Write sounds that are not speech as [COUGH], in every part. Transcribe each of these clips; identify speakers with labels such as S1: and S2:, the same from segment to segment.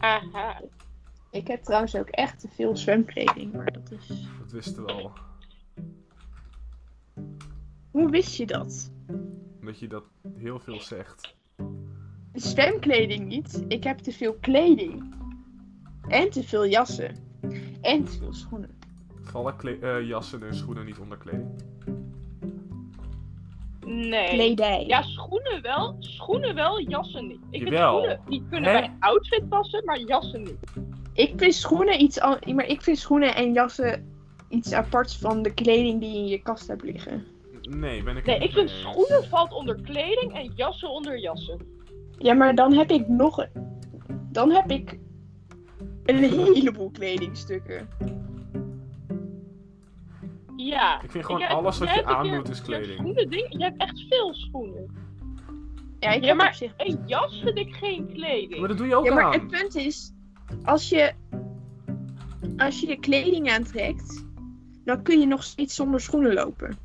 S1: Haha. Ik heb trouwens ook echt te veel zwemkleding, maar dat is...
S2: Dat wisten we al.
S1: Hoe wist je dat?
S2: Omdat je dat heel veel zegt.
S1: Zwemkleding niet. Ik heb te veel kleding. En te veel jassen. En te veel schoenen.
S2: Vallen kle- eh, jassen en schoenen niet onder kleding?
S3: Nee.
S1: Kledij.
S3: Ja, schoenen wel. Schoenen wel, jassen niet. Ik vind
S2: Jawel.
S3: schoenen die kunnen
S2: Hè?
S3: bij een outfit passen, maar jassen niet.
S1: Ik vind schoenen iets al... Maar ik vind schoenen en jassen iets aparts van de kleding die je in je kast hebt liggen.
S2: Nee, ben ik
S3: Nee,
S2: het niet
S3: ik vind
S2: mee eens.
S3: schoenen valt onder kleding en jassen onder jassen.
S1: Ja, maar dan heb ik nog... een- Dan heb ik... Een heleboel kledingstukken.
S3: Ja.
S2: Ik vind gewoon
S3: Jij-
S2: alles wat
S3: jij
S2: je
S3: hebt een
S2: aan
S3: keer-
S2: moet is
S3: je hebt
S2: kleding.
S3: schoenen ding, je hebt echt veel schoenen.
S1: Ja, ik
S3: Ja,
S1: heb
S3: maar-
S1: op zich...
S3: Een jas vind ik geen kleding.
S2: Maar dat doe je ook
S1: Ja, maar het
S2: aan.
S1: punt is... Als je... Als je je kleding aantrekt... Dan kun je nog steeds zonder schoenen lopen.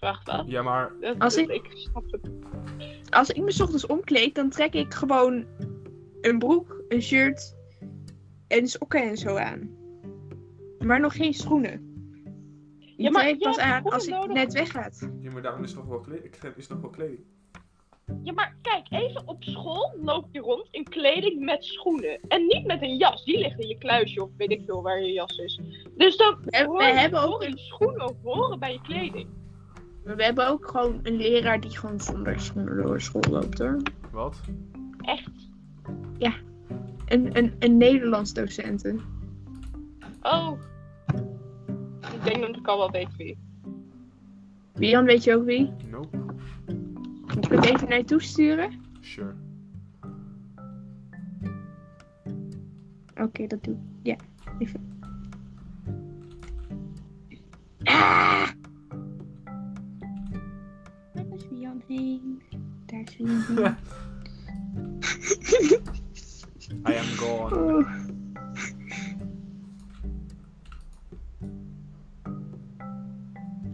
S3: Wacht, wat?
S2: Ja, maar
S3: Dat-
S1: Als ik-
S3: ik snap het.
S1: Als ik me 's ochtends omkleed, dan trek ik gewoon een broek, een shirt en sokken en zo aan. Maar nog geen schoenen. Die
S3: Ja, maar
S1: trek ik
S3: je
S1: pas
S3: hebt
S1: aan als ik
S3: schoenen nodig.
S1: net weggaat.
S2: Ja, maar daarom is het nog wel kleding. Is nog wel kleding.
S3: Ja, maar kijk, even op school loop je rond in kleding met schoenen. En niet met een jas. Die ligt in je kluisje of weet ik veel waar je jas is. Dus dan
S1: We, we
S3: horen-
S1: hebben ook
S3: horen
S1: een,
S3: je schoenen horen bij je kleding.
S1: we hebben ook gewoon een leraar die gewoon zonder schoenen door school loopt hoor.
S2: Wat?
S3: Echt.
S1: Een, een, een Nederlands docenten.
S3: Oh. Ik denk dat ik al wel weet wie.
S1: Wie dan weet je ook wie?
S2: Nope.
S1: Moet ik het even naar je toe sturen?
S2: Sure. [LAUGHS]
S1: Oké, dat doe ik. Ja, even. Ah! Daar is Wian heen. Daar is Wian heen.
S2: I am gone.
S1: Oh.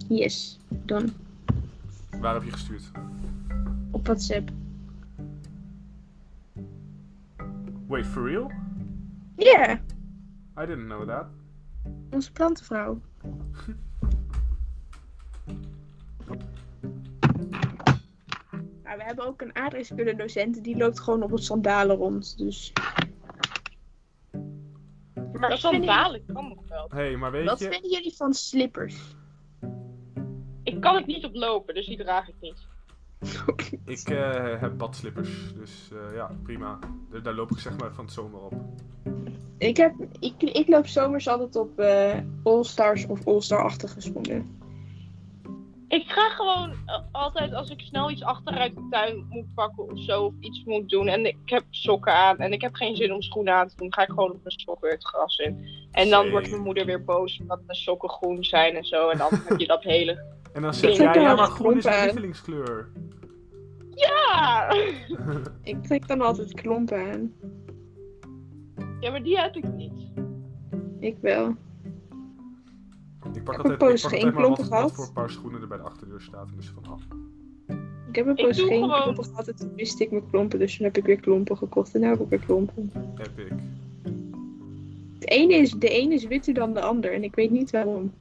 S1: Yes, dan
S2: Waar heb je gestuurd?
S1: op WhatsApp.
S2: Wait, for real?
S1: Ja,
S2: I didn't know that.
S1: onze plantenvrouw. Maar Nou, we hebben ook een aardrijkskundedocent, die loopt gewoon op het sandalen rond. Dus
S3: Maar
S1: Wat vinden
S3: sandalen kan nog wel.
S2: Hé, hey, maar weet
S1: wat
S2: je...
S1: vinden jullie van slippers?
S3: Ik kan het niet op lopen, dus die draag ik niet.
S2: Ik eh, heb badslippers, dus eh, ja, prima. Daar, daar loop ik zeg maar van het zomer op.
S1: [LAUGHS] Ik, heb, ik, ik loop zomers altijd op eh All-Stars of All-Star-achtige schoenen.
S3: Ik ga gewoon eh, altijd als ik snel iets achteruit de tuin moet pakken of zo, of iets moet doen. En ik heb sokken aan en ik heb geen zin om schoenen aan te doen, ga ik gewoon op mijn sokken het gras in. En dan
S2: Same.
S3: wordt mijn moeder weer boos omdat mijn sokken groen zijn en zo. En dan heb je
S1: [LAUGHS]
S3: dat hele.
S2: En dan zeg
S3: Ik
S2: jij,
S1: heb
S2: ja,
S1: wel
S2: maar
S1: wat
S2: groen is mijn
S1: klompen.
S2: lievelingskleur. [LAUGHS]
S3: Ja!
S1: Ik trek dan altijd klompen aan.
S3: ja, maar die heb ik niet.
S1: Ik wel.
S2: Ik
S1: een poos
S2: pak altijd, ik pak
S1: geen
S2: altijd maar wat,
S1: klompen
S2: wat
S1: gehad.
S2: voor paar schoenen er bij de achterdeur staat. En dus van, ah,
S1: Ik heb een
S3: Ik
S1: poos
S3: doe
S1: geen
S3: gewoon-
S1: klompen gehad en toen miste ik mijn klompen. Dus toen heb ik weer klompen gekocht en nu heb ik weer klompen.
S2: epic.
S1: Het ene is, de ene is witter dan de ander en ik weet niet waarom.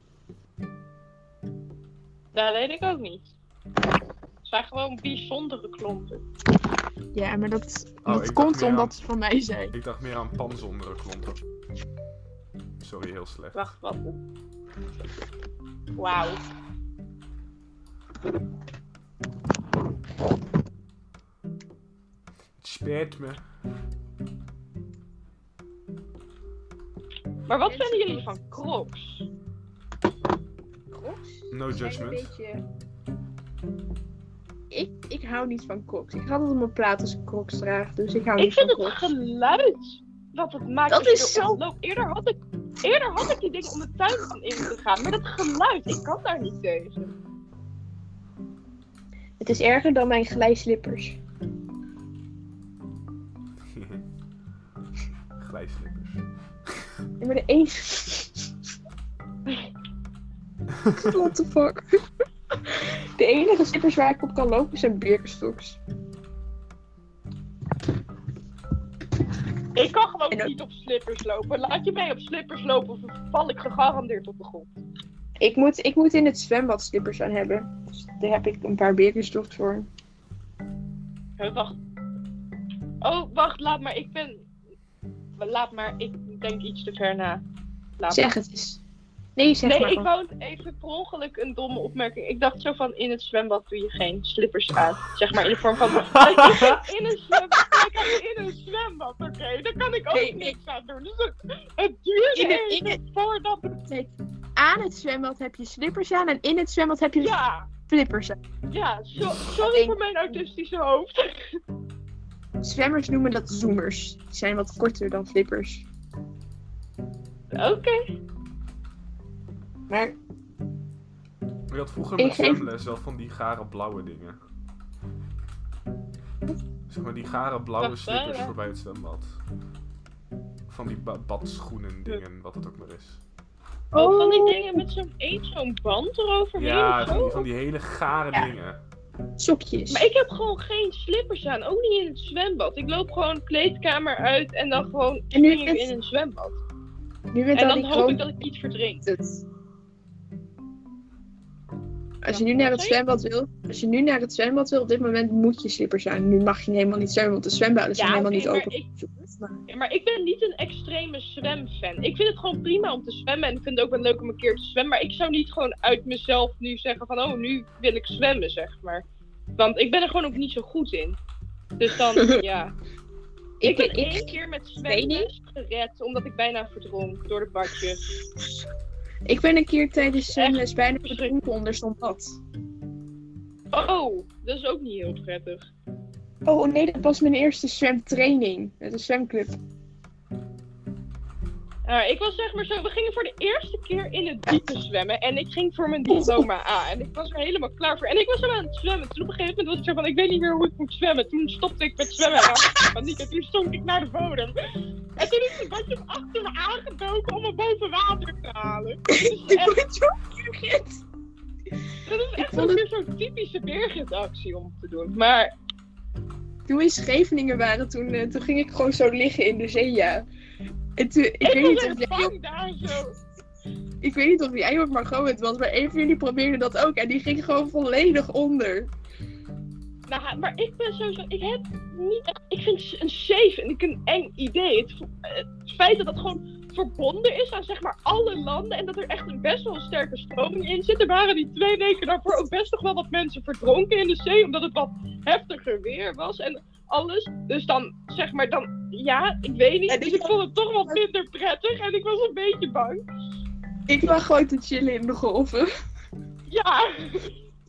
S3: Dat weet ik ook niet. Het zijn gewoon bijzondere klompen.
S1: Ja, maar dat,
S2: Oh, dat ik komt dacht meer omdat aan-
S1: ze van mij zijn.
S2: Ik dacht meer aan panzondere klompen. Sorry, heel slecht.
S3: Wacht, wat? Wauw.
S2: Het spijt me. [LAUGHS]
S3: Maar wat vinden jullie van crocs?
S2: No judgment.
S1: Een beetje... ik, ik hou niet van crocs. Ik had het op mijn plaat als ik crocs draag, dus ik hou
S3: Ik
S1: niet
S3: vind
S1: van
S3: het
S1: crocs.
S3: geluid dat het maakt.
S1: Dat
S3: als je
S1: is
S3: erop
S1: zo-
S3: loopt. Eerder had ik, eerder had ik die ding om de tuin van in te gaan. Maar dat geluid, ik kan daar niet tegen.
S1: Het is erger dan mijn glijslippers.
S3: [LAUGHS]
S2: Glijslippers.
S1: Ja, maar de een... [LAUGHS] What the fuck? De enige slippers waar ik op kan lopen zijn Birkenstocks.
S3: Ik kan gewoon
S1: En ook-
S3: niet op slippers lopen. Laat je mij op slippers lopen, of val ik gegarandeerd op de grond.
S1: Ik moet, ik moet in het zwembad slippers aan hebben. Dus daar heb ik een paar berenstof voor.
S3: Huh, Eh, wacht. Oh, wacht, laat maar. Ik ben. Laat maar, ik denk iets te ver na. Laat
S1: Zeg het eens. Nee, zeg
S3: maar.
S1: maar.
S3: Nee, ik
S1: gewoon.
S3: wou even per ongeluk een domme opmerking. Ik dacht zo van in het zwembad doe je geen slippers aan. Zeg maar in de vorm
S1: [LAUGHS]
S3: van. in een zwembad. Ik had in een zwembad, oké. Daar kan ik ook
S1: Nee, nee.
S3: niks aan doen. Dus het, het duurde
S1: In het- in
S3: even voordat.
S1: Kijk, aan het zwembad heb je slippers aan en in het zwembad heb je
S3: Ja,
S1: flippers aan.
S3: ja. so- sorry
S1: Ik-
S3: voor mijn autistische hoofd. [LAUGHS]
S1: Zwemmers noemen dat zoomers. Die zijn wat korter dan flippers.
S3: Oké.
S1: Maar
S2: Ik had vroeger
S1: Ik
S2: met
S1: geef-
S2: zwemles wel van die gare blauwe dingen. Zeg maar die gare blauwe
S3: Wacht,
S2: slippers
S3: hè?
S2: voorbij het zwembad. Van die ba- badschoenen dingen, wat het ook maar is.
S3: Oh, van die dingen met zo'n eet, zo'n band eroverheen.
S2: Ja,
S3: of
S2: van
S3: zo?
S2: die, van die hele gare
S1: Ja.
S2: dingen.
S1: sokjes.
S3: Maar ik heb gewoon geen slippers aan, ook niet in het zwembad. Ik loop gewoon kleedkamer uit en dan gewoon
S1: En nu
S3: spring ik
S1: bent-
S3: in een zwembad.
S1: nu bent
S3: En
S1: al
S3: dan
S1: die
S3: hoop
S1: kroon
S3: ik dat ik niet verdrink.
S1: Het. Als je nu naar het
S3: Sorry?
S1: zwembad wil, als je nu naar het zwembad wil, op dit moment moet je slippers aan. Nu mag je helemaal niet zwemmen, want de zwembaden zijn
S3: Ja,
S1: helemaal
S3: oké,
S1: niet
S3: maar
S1: open.
S3: ik- Maar ik ben niet een extreme zwemfan. Ik vind het gewoon prima om te zwemmen en ik vind het ook wel leuk om een keer te zwemmen. Maar ik zou niet gewoon uit mezelf nu zeggen van, oh, nu wil ik zwemmen, zeg maar. Want ik ben er gewoon ook niet zo goed in.
S1: [LAUGHS]
S3: Dus dan, ja. Ik, ben één keer met zwemmen gered, omdat ik bijna verdronk door de badjes.
S1: ik ben een keer tijdens
S3: Echt
S1: zwemles bijna
S3: verschrikkelijk.
S1: verdronken onder zo'n bad.
S3: Oh, dat is ook niet heel prettig.
S1: Oh nee, dat was mijn eerste zwemtraining met een zwemclub.
S3: Nou, ik was zeg maar zo, we gingen voor de eerste keer in het diepe zwemmen en ik ging voor mijn diploma A en ik was er helemaal klaar voor. En ik was zo aan het zwemmen, toen op een gegeven moment was ik zo van, ik weet niet meer hoe ik moet zwemmen. Toen stopte ik met zwemmen en raakte ik paniek en toen stond ik naar de bodem. En toen is het badje achter me aangedoken om me boven water te halen.
S1: Ik word zo vergeten.
S3: Dat is echt
S1: vond
S3: ook weer zo'n typische Birgit-actie om te doen. Maar
S1: Toen we in Scheveningen waren, toen, eh, toen ging ik gewoon zo liggen in de zee, ja. En toen, ik,
S3: ik
S1: weet niet
S3: was
S1: of
S3: echt
S1: jij ook,
S3: bang daar zo.
S1: ik weet niet of jij ook Margot het was, maar een van jullie probeerde dat ook. En die ging gewoon volledig onder.
S3: Nou, maar ik ben sowieso. Ik heb niet. echt- Ik vind een safe en ik een eng idee. Het, vo- eh, het feit dat dat gewoon verbonden is aan zeg maar alle landen en dat er echt een best wel een sterke stroming in zit. Er waren die twee weken daarvoor ook best nog wel wat mensen verdronken in de zee, omdat het wat heftiger weer was en alles. Dus dan zeg maar dan. Ja, ik weet niet.
S1: Ja,
S3: dus
S1: dit
S3: ik
S1: was-
S3: vond het toch wat minder prettig en ik was een beetje bang.
S1: Ik lag gewoon te chillen in de golven.
S3: Ja.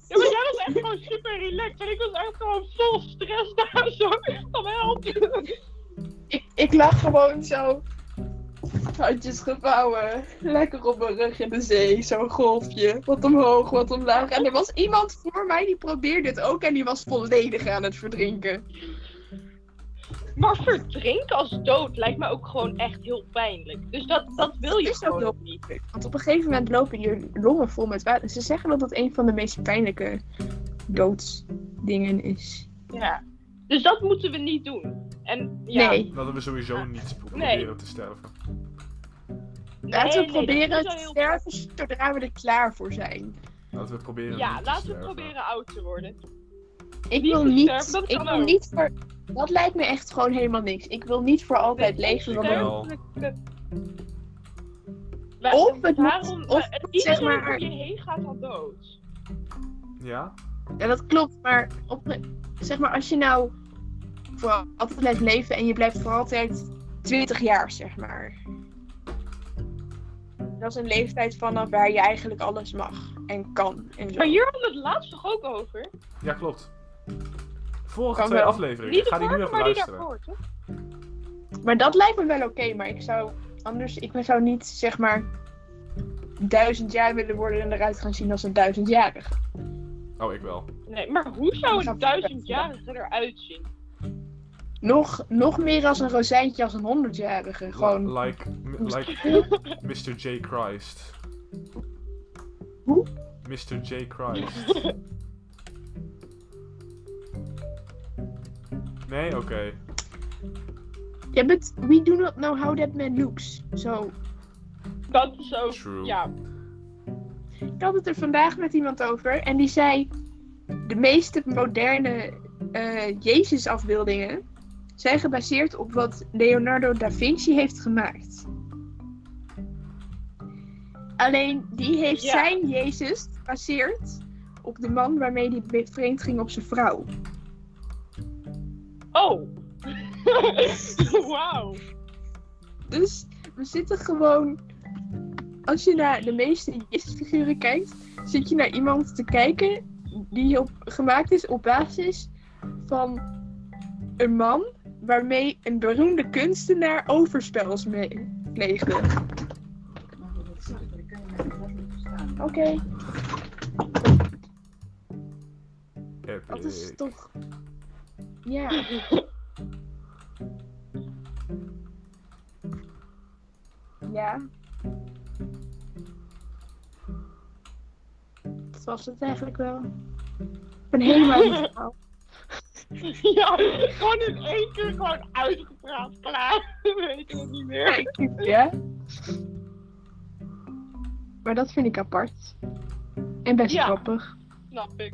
S3: Ja, maar jij was echt gewoon super relaxed en ik was echt gewoon vol stress daar zo. Van help.
S1: Ik, ik lag gewoon zo. Handjes gevouwen. Lekker op mijn rug in de zee. Zo'n golfje. Wat omhoog, wat omlaag. En er was iemand voor mij die probeerde het ook. En die was volledig aan het verdrinken.
S3: Maar verdrinken als dood lijkt me ook gewoon echt heel pijnlijk. Dus dat, dat wil je
S1: Is dat
S3: gewoon
S1: heel-
S3: niet.
S1: Want op een gegeven moment lopen je longen vol met water. Ze zeggen dat dat een van de meest pijnlijke doodsdingen is.
S3: Ja. Dus dat moeten we niet doen. En ja,
S1: Nee.
S2: Laten we sowieso niet pro-
S3: Ah, Nee.
S2: proberen te sterven.
S1: Laten we
S3: nee, nee, dat
S1: proberen
S3: is wel
S1: te
S3: heel-
S1: sterven zodra we er klaar voor zijn.
S2: Laten we proberen
S3: Ja,
S2: niet te
S3: laten we
S2: sterven.
S3: proberen oud te worden.
S1: Ik
S3: Niet
S1: wil
S3: te
S1: niet,
S3: sterven, dat
S1: ik
S3: kan
S1: wil
S3: ook.
S1: niet voor... Dat lijkt me echt gewoon helemaal niks. Ik wil niet voor altijd leven. want
S2: Ik
S1: dan-
S2: wel.
S3: Wij-
S1: Of het moet-
S3: daarom,
S1: of
S3: eh,
S1: moet,
S3: iedereen
S1: zeg maar-
S3: om je heen gaat al dood.
S2: Ja?
S1: Ja, dat klopt, maar op, zeg maar als je nou voor altijd blijft leven en je blijft voor altijd 20 jaar, zeg maar. Dat is een leeftijd vanaf waar je eigenlijk alles mag en kan en zo.
S3: Maar hier hadden we het laatst toch ook over?
S2: Ja, klopt. Vorige
S1: Kan
S2: twee
S1: wel.
S2: afleveringen.
S3: Niet de
S2: Ga die nu
S3: vorige,
S2: even
S3: maar die
S2: luisteren.
S3: daarvoor, toch?
S1: Maar dat lijkt me wel oké, maar ik zou anders, ik zou niet zeg maar duizend jaar willen worden en eruit gaan zien als een duizendjarige.
S2: Oh, ik wel.
S3: Nee, maar hoe zou
S1: Dat
S3: een
S1: is wel-
S3: duizendjarige eruit zien?
S1: Nog, nog meer als een rozijntje als een honderdjarige. Gewoon.
S2: Li- Like, m- like [LAUGHS] Mr. J. Christ.
S1: Hoe?
S2: Mr. J. Christ.
S3: [LAUGHS]
S2: Nee, oké.
S1: Yeah, but we do not know how that man looks. So,
S3: Dat is ook,
S2: True.
S3: ja.
S1: ik had het er vandaag met iemand over en die zei: de meeste moderne eh Jezus-afbeeldingen zijn gebaseerd op wat Leonardo da Vinci heeft gemaakt. Alleen die heeft
S3: Ja.
S1: zijn Jezus gebaseerd op de man waarmee die bevreemd ging op zijn vrouw.
S3: Oh. [LAUGHS] Wauw. [LAUGHS]
S1: Dus we zitten gewoon. Als je naar de meeste Jezus-figuren kijkt, zit je naar iemand te kijken die op, gemaakt is op basis van een man waarmee een beroemde kunstenaar overspels mee pleegde. Oké. Dat is
S2: Epic.
S1: toch. Ja. Ja. Dat was het eigenlijk wel. Ik ben helemaal niet verhaal.
S3: Ja, gewoon in één keer gewoon uitgepraat, klaar. [LAUGHS] We weten het niet meer.
S1: Ja. Maar dat vind ik apart. En best
S3: Ja.
S1: grappig.
S3: Snap ik.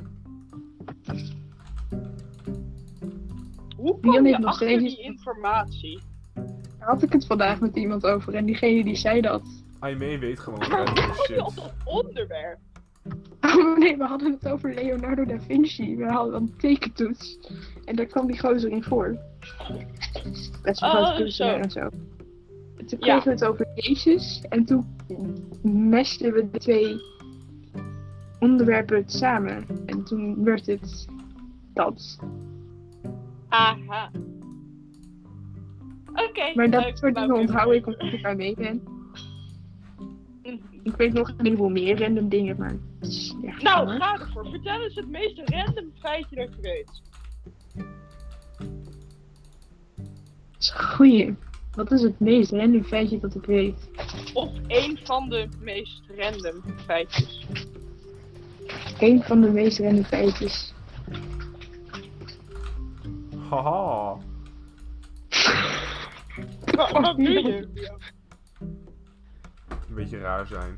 S3: Hoe
S1: Jan heeft
S3: kom je
S1: nog
S3: achter
S1: steeds-
S3: die informatie?
S1: Daar had ik het vandaag met iemand over en diegene die zei dat.
S2: Aimee weet gewoon
S3: Hoe
S2: random
S3: kom je op
S2: shit.
S3: dat onderwerp?
S1: [LAUGHS] Oh nee, we hadden het over Leonardo da Vinci. We hadden een tekentoets. En daar kwam die gozer in voor. Best wel
S3: Oh,
S1: grote kunstenaar
S3: zo.
S1: en zo. En Toen kregen
S3: Ja.
S1: we het over Jezus. En toen mesten we de twee onderwerpen samen. En toen werd het dat.
S3: Aha. Oké.
S1: Maar dat
S3: leuk,
S1: soort
S3: nou,
S1: dingen
S3: ik-
S1: onthoud ik omdat ik daar mee ben. Ik weet nog een heleboel meer random dingen, maar... het is niet echt
S3: Nou,
S1: waar.
S3: ga ervoor. Vertel eens het meest random feitje dat je weet.
S1: Dat is een goeie. Wat is het meest random feitje dat ik weet?
S3: Of één van de meest random feitjes.
S1: Eén van de meest random feitjes.
S2: Haha.
S3: Wat, Oh, wat doe je?
S2: Een beetje raar zijn.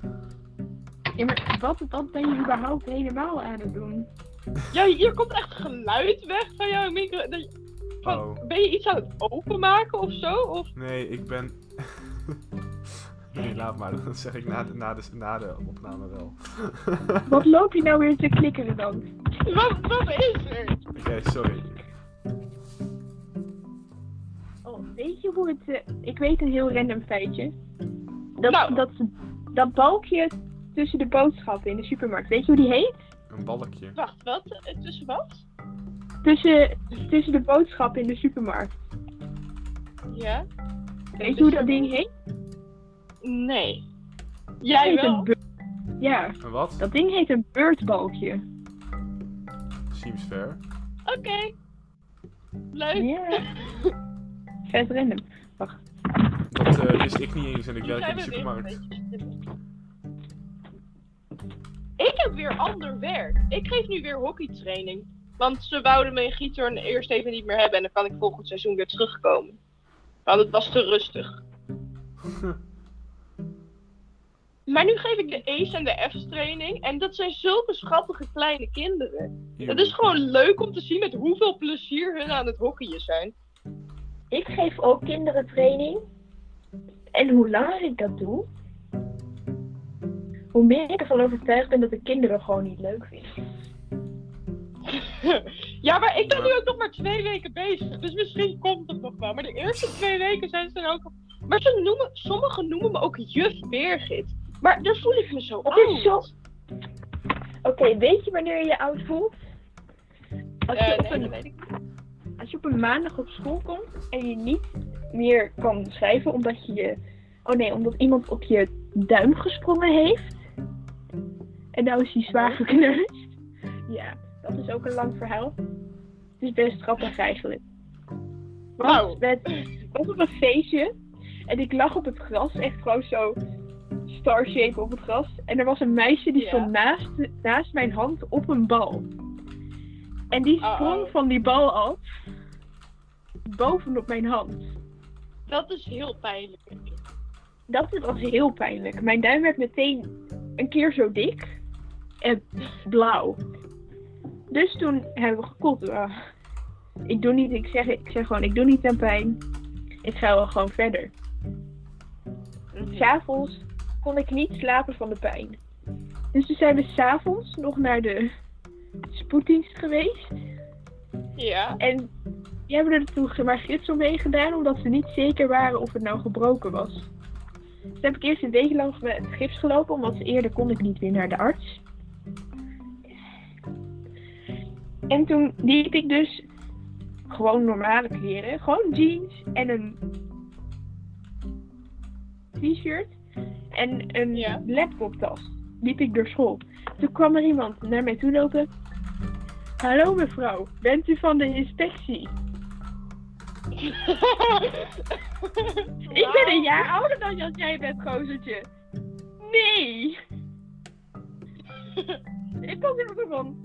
S1: Ja, maar wat, wat ben je überhaupt helemaal aan het doen?
S3: Ja, hier komt echt geluid weg van jouw micro. dat je- Van,
S2: Oh.
S3: Ben je iets aan het openmaken of zo? Of...
S2: Nee, ik ben. [LAUGHS] nee, laat maar. Dat zeg ik na de, na de, na de opname wel. [LAUGHS]
S1: Wat loop je nou weer te klikkeren dan?
S3: Wat, wat is er?
S2: Oké, sorry.
S1: Oh, weet je hoe het... eh, ik weet een heel random feitje. Dat,
S3: Nou.
S1: dat, dat balkje tussen de boodschappen in de supermarkt, weet je hoe die heet?
S2: Een balkje.
S3: Wacht, wat? Eh, Tussen wat?
S1: Tussen, tussen de boodschappen in de supermarkt.
S3: Ja?
S1: Weet je hoe dat ding heet?
S3: Nee.
S1: Dat
S3: Jij
S1: heet een
S3: wel?
S1: bur- ja,
S2: Een wat?
S1: dat ding heet een beurtbalkje.
S2: Seems fair.
S3: Oké. Leuk.
S1: Ja. Vet random. Wacht.
S2: Dat eh, wist ik niet eens en ik
S3: Hier
S2: werk in
S3: zijn
S2: de
S3: we weer een
S2: supermarkt.
S3: beetje. Ik heb weer ander werk. Ik geef nu weer hockeytraining. Want ze wouden mijn gieter eerst even niet meer hebben. En dan kan ik volgend seizoen weer terugkomen. Want het was te
S2: [LAUGHS]
S3: rustig. Maar nu geef ik de A's en de F's training. En dat zijn zulke schattige kleine kinderen. Het is gewoon leuk om te zien met hoeveel plezier hun aan het hockeyen zijn.
S4: Ik geef ook kinderen training. En hoe langer ik dat doe, hoe meer ik ervan overtuigd ben dat ik kinderen gewoon niet leuk vind.
S3: [LAUGHS] ja, maar ik ben
S2: Ja.
S3: nu ook nog maar twee weken bezig, dus misschien komt het nog wel. Maar de eerste twee weken zijn ze er ook. Maar ze noemen, sommigen noemen me ook juf Birgit. Maar daar voel ik me zo
S4: Dat is
S3: oud.
S4: zo. Oké, weet je wanneer je je oud voelt? Als je,
S3: Eh,
S4: op
S3: nee, dat
S4: een,
S3: weet ik.
S4: als je op een maandag op school komt en je niet meer kan schrijven omdat je je. Oh nee, omdat iemand op je duim gesprongen heeft. En nou is hij zwaar gekneusd. Ja, dat is ook een lang verhaal. Het is best grappig eigenlijk.
S3: Wauw.
S4: met, ik was op een feestje en ik lag op het gras, echt gewoon zo star shape op het gras. En er was een meisje die
S3: Ja.
S4: stond naast, naast mijn hand op een bal. En die sprong
S3: Uh-oh.
S4: van die bal af, bovenop mijn hand.
S3: Dat is heel pijnlijk.
S1: Dat was heel pijnlijk. Mijn duim werd meteen een keer zo dik en blauw. Dus toen hebben we gekoeld. eh, ik doe niet, ik zeg, ik zeg gewoon, ik doe niet aan pijn. Ik ga wel gewoon verder. S'avonds kon ik niet slapen van de pijn. Dus toen zijn we s'avonds nog naar de spoeddienst geweest.
S3: Ja.
S1: [LAUGHS] En die hebben er toen maar gidsel mee gedaan, omdat ze niet zeker waren of het nou gebroken was. Dus heb ik eerst een week lang met het gips gelopen, omdat ze eerder kon ik niet weer naar de arts. En toen liep ik dus gewoon normale kleren, gewoon jeans en een t-shirt en een
S3: Ja.
S1: laptoptas. Liep ik door school. Toen kwam er iemand naar mij toe lopen. Hallo mevrouw, bent u van de inspectie? Ik ben een jaar ouder dan als jij bent, gozertje. Nee! [LAUGHS] ik was er ook van.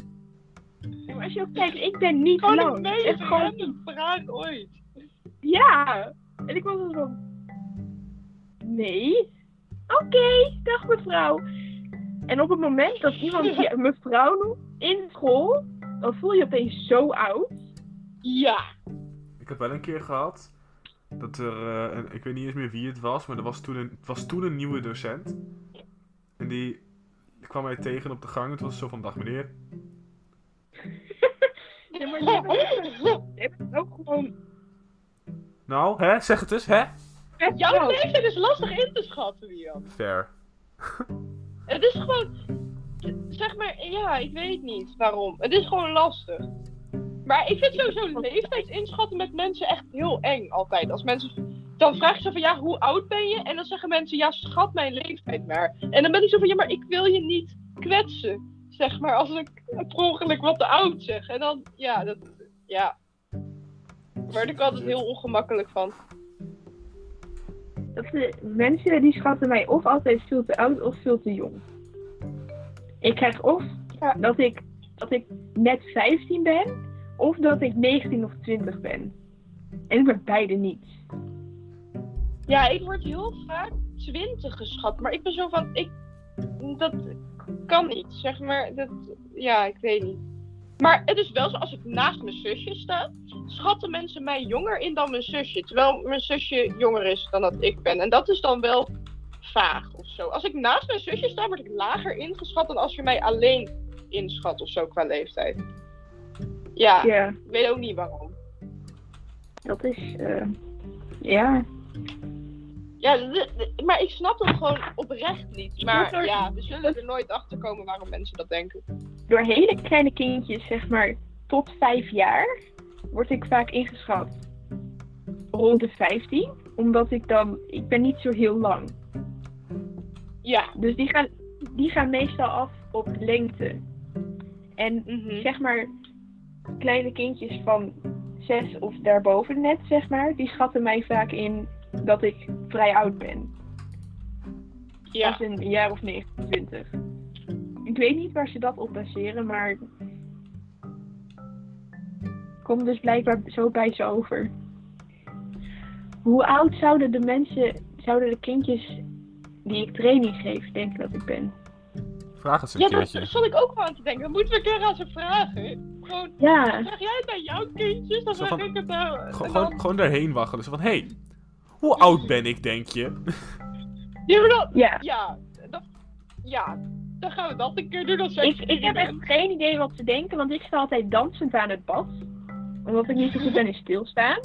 S1: Ja, Maar als je ook kijkt, ik ben niet
S3: Gewoon
S1: lang.
S3: een
S1: Het
S3: meest
S1: is gewoon,
S3: random vraag ooit.
S1: ja! En ik was er van. Nee? Oké, dag mevrouw. En op het moment dat iemand
S3: [LAUGHS]
S1: je mevrouw noemt in school, dan voel je opeens zo oud.
S3: Ja.
S2: Ik heb wel een keer gehad dat er, eh, een- ik weet niet eens meer wie het was, maar er was toen een, het was toen een nieuwe docent. En die kwam mij tegen op de gang. Het was zo van, dag meneer.
S1: Ja, [LAUGHS] maar jij bent jij bent ook gewoon.
S2: Nou, hè, zeg het eens, hè?
S1: best
S3: Jouw
S1: oud.
S3: leeftijd is lastig in te schatten, Jan.
S2: Fair.
S3: Het is gewoon... Zeg maar, ja, ik weet niet waarom. Het is gewoon lastig. Maar ik vind sowieso leeftijd inschatten met mensen echt heel eng altijd. Als mensen... Dan vraag je ze van, ja, hoe oud ben je? En dan zeggen mensen, ja, schat mijn leeftijd maar. En dan ben ik zo van, ja, maar ik wil je niet kwetsen. Zeg maar, als ik per ongeluk wat te oud zeg. En dan, ja, dat... Ja, Daar word ik altijd heel ongemakkelijk van.
S1: Dat de mensen die schatten mij of altijd veel te oud of veel te jong. Ik krijg of
S3: Ja.
S1: dat, ik, dat ik net 15 ben, of dat ik 19 of 20 ben. En ik ben beide niet.
S3: Ja, ik word heel vaak 20 geschat, maar ik ben zo van, ik, dat kan niet, zeg maar, dat, ja, ik weet niet. Maar het is wel zo, als ik naast mijn zusje sta, schatten mensen mij jonger in dan mijn zusje, terwijl mijn zusje jonger is dan dat ik ben. En dat is dan wel vaag of zo. Als ik naast mijn zusje sta, word ik lager ingeschat dan als je mij alleen inschat of zo qua leeftijd. Ja,
S1: Ja,
S3: ik weet ook niet waarom.
S1: dat is. eh, ja.
S3: Ja, d- d- maar ik snap het gewoon oprecht niet.
S1: moet
S3: Maar
S1: er-
S3: ja, we zullen er nooit achter komen waarom mensen dat denken.
S1: Door hele kleine kindjes, zeg maar tot 5 jaar, word ik vaak ingeschat. Rond de 15, omdat ik dan. Ik ben niet zo heel lang.
S3: Ja.
S1: Dus die gaan, die gaan meestal af op lengte. En
S3: mhm.
S1: zeg maar, kleine kindjes van zes of daarboven net, zeg maar, die schatten mij vaak in dat ik vrij oud ben.
S3: ja.
S1: Als een jaar of 29. Ik weet niet waar ze dat op baseren, maar. Komt dus blijkbaar zo bij ze over. Hoe oud zouden de mensen, zouden de kindjes die ik training geef, denken dat ik ben?
S2: Vraag het
S3: Ja, dat zat ik ook wel aan te denken. Dat moeten we een keer aan ze vragen. Gewoon,
S1: Ja,
S3: vraag jij het aan jouw kindjes? Dan
S2: Zo
S3: vraag
S2: van-
S3: ik het aan... en
S2: Gewoon,
S3: dan-
S2: gewoon daarheen waggelen. Zo van, hé, hey, hoe oud ben ik, denk je?
S3: Ja, maar dan-
S1: ja.
S3: ja, dat- ja, dan gaan we dat een keer doen als jij
S1: Ik, ik
S3: tien
S1: heb echt
S3: bent.
S1: geen idee wat ze denken, want ik sta altijd dansend aan het bad. Omdat ik niet zo goed ben in stilstaan.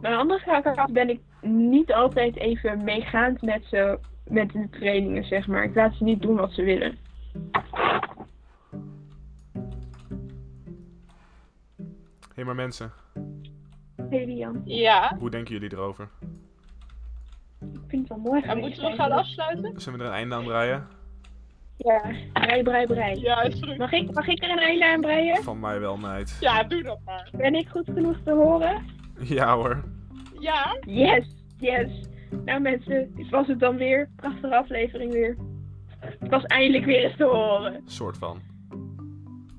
S1: Maar anders ga ik altijd- ben ik niet altijd even meegaand met, ze, met de trainingen, zeg maar. Ik laat ze niet doen wat ze willen.
S2: Hé, maar mensen,
S1: Hey Lian,
S3: Ja,
S2: hoe denken jullie erover?
S1: ik vind het wel mooi
S3: en
S1: geweest
S3: moeten we gaan
S1: eigenlijk.
S3: afsluiten?
S2: Zullen we er een einde aan breien?
S1: Ja, brei, brei, brei.
S3: Ja, is goed.
S1: Mag, ik, mag ik er een einde aan breien?
S2: Van mij wel, meid.
S3: Ja, doe dat maar.
S1: Ben ik goed genoeg te horen?
S2: Ja hoor.
S3: Ja,
S1: Yes, yes. Nou mensen, dit was het dan weer. Prachtige aflevering weer. Het was eindelijk weer eens te horen.
S2: Soort van.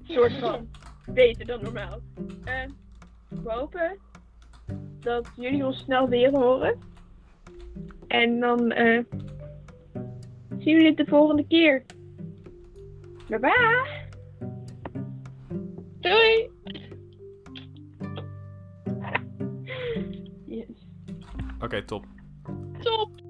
S1: soort van beter dan normaal. Eh, we hopen dat jullie ons snel weer horen. En dan eh, zien jullie het de volgende keer. Bye bye!
S3: Doei!
S1: Yes.
S5: Oké, top.
S3: Top!